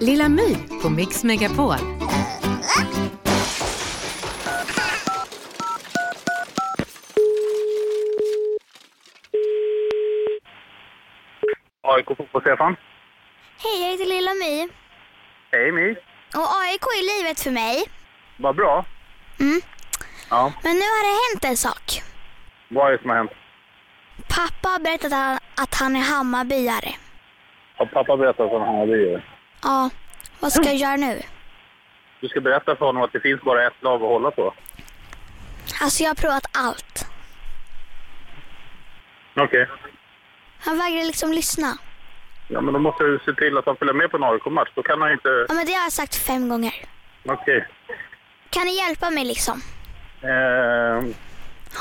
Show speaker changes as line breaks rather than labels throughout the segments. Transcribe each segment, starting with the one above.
Lilla My på Mix Megapol.
AIK Fotboll-Stefan.
Hej, jag heter Lilla My.
Hej My.
Och AIK är livet för mig.
Vad bra.
Mm.
Ja,
Men nu har det hänt en sak.
vad är det som har hänt?
Pappa har berättat att han, att han är Hammarbyare.
Har pappa berättat för honom vad du
Ja, vad ska jag göra nu?
Du ska berätta för honom att det finns bara ett lag att hålla på.
Alltså jag har provat allt.
Okej.
Han vägrar liksom lyssna.
Ja, men då måste du se till att han följer med på en AIK-match. Då kan han inte...
Ja men det har jag sagt fem gånger.
Okej.
Kan ni hjälpa mig liksom?
Eh,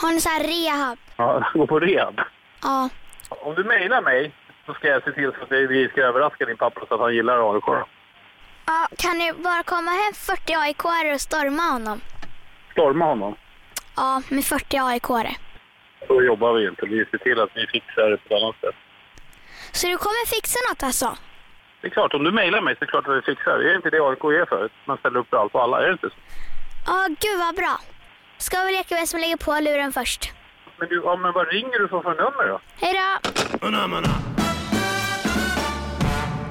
Har ni så här rehab?
ja, gå på rehab.
Ja.
Om du mejlar mig så ska jag se till så att vi ska överraska din pappa så att han gillar AIK. då.
ja kan ni bara komma hem 40 aik och storma honom?
Storma honom.
Ja, med 40 aik -are.
Så jobbar vi inte. Vi ser till att vi fixar det på ett annat sätt.
Så du kommer fixa något alltså?
Det är klart, om du mejlar mig så är det klart att vi fixar det. Det är inte det AIK är för. Man ställer upp för allt och alla. Är det inte så?
Ja, gud vad bra. Ska vi leka vem som lägger på luren först?
Men, du, ja, men vad ringer du för för nummer då?
Hej då!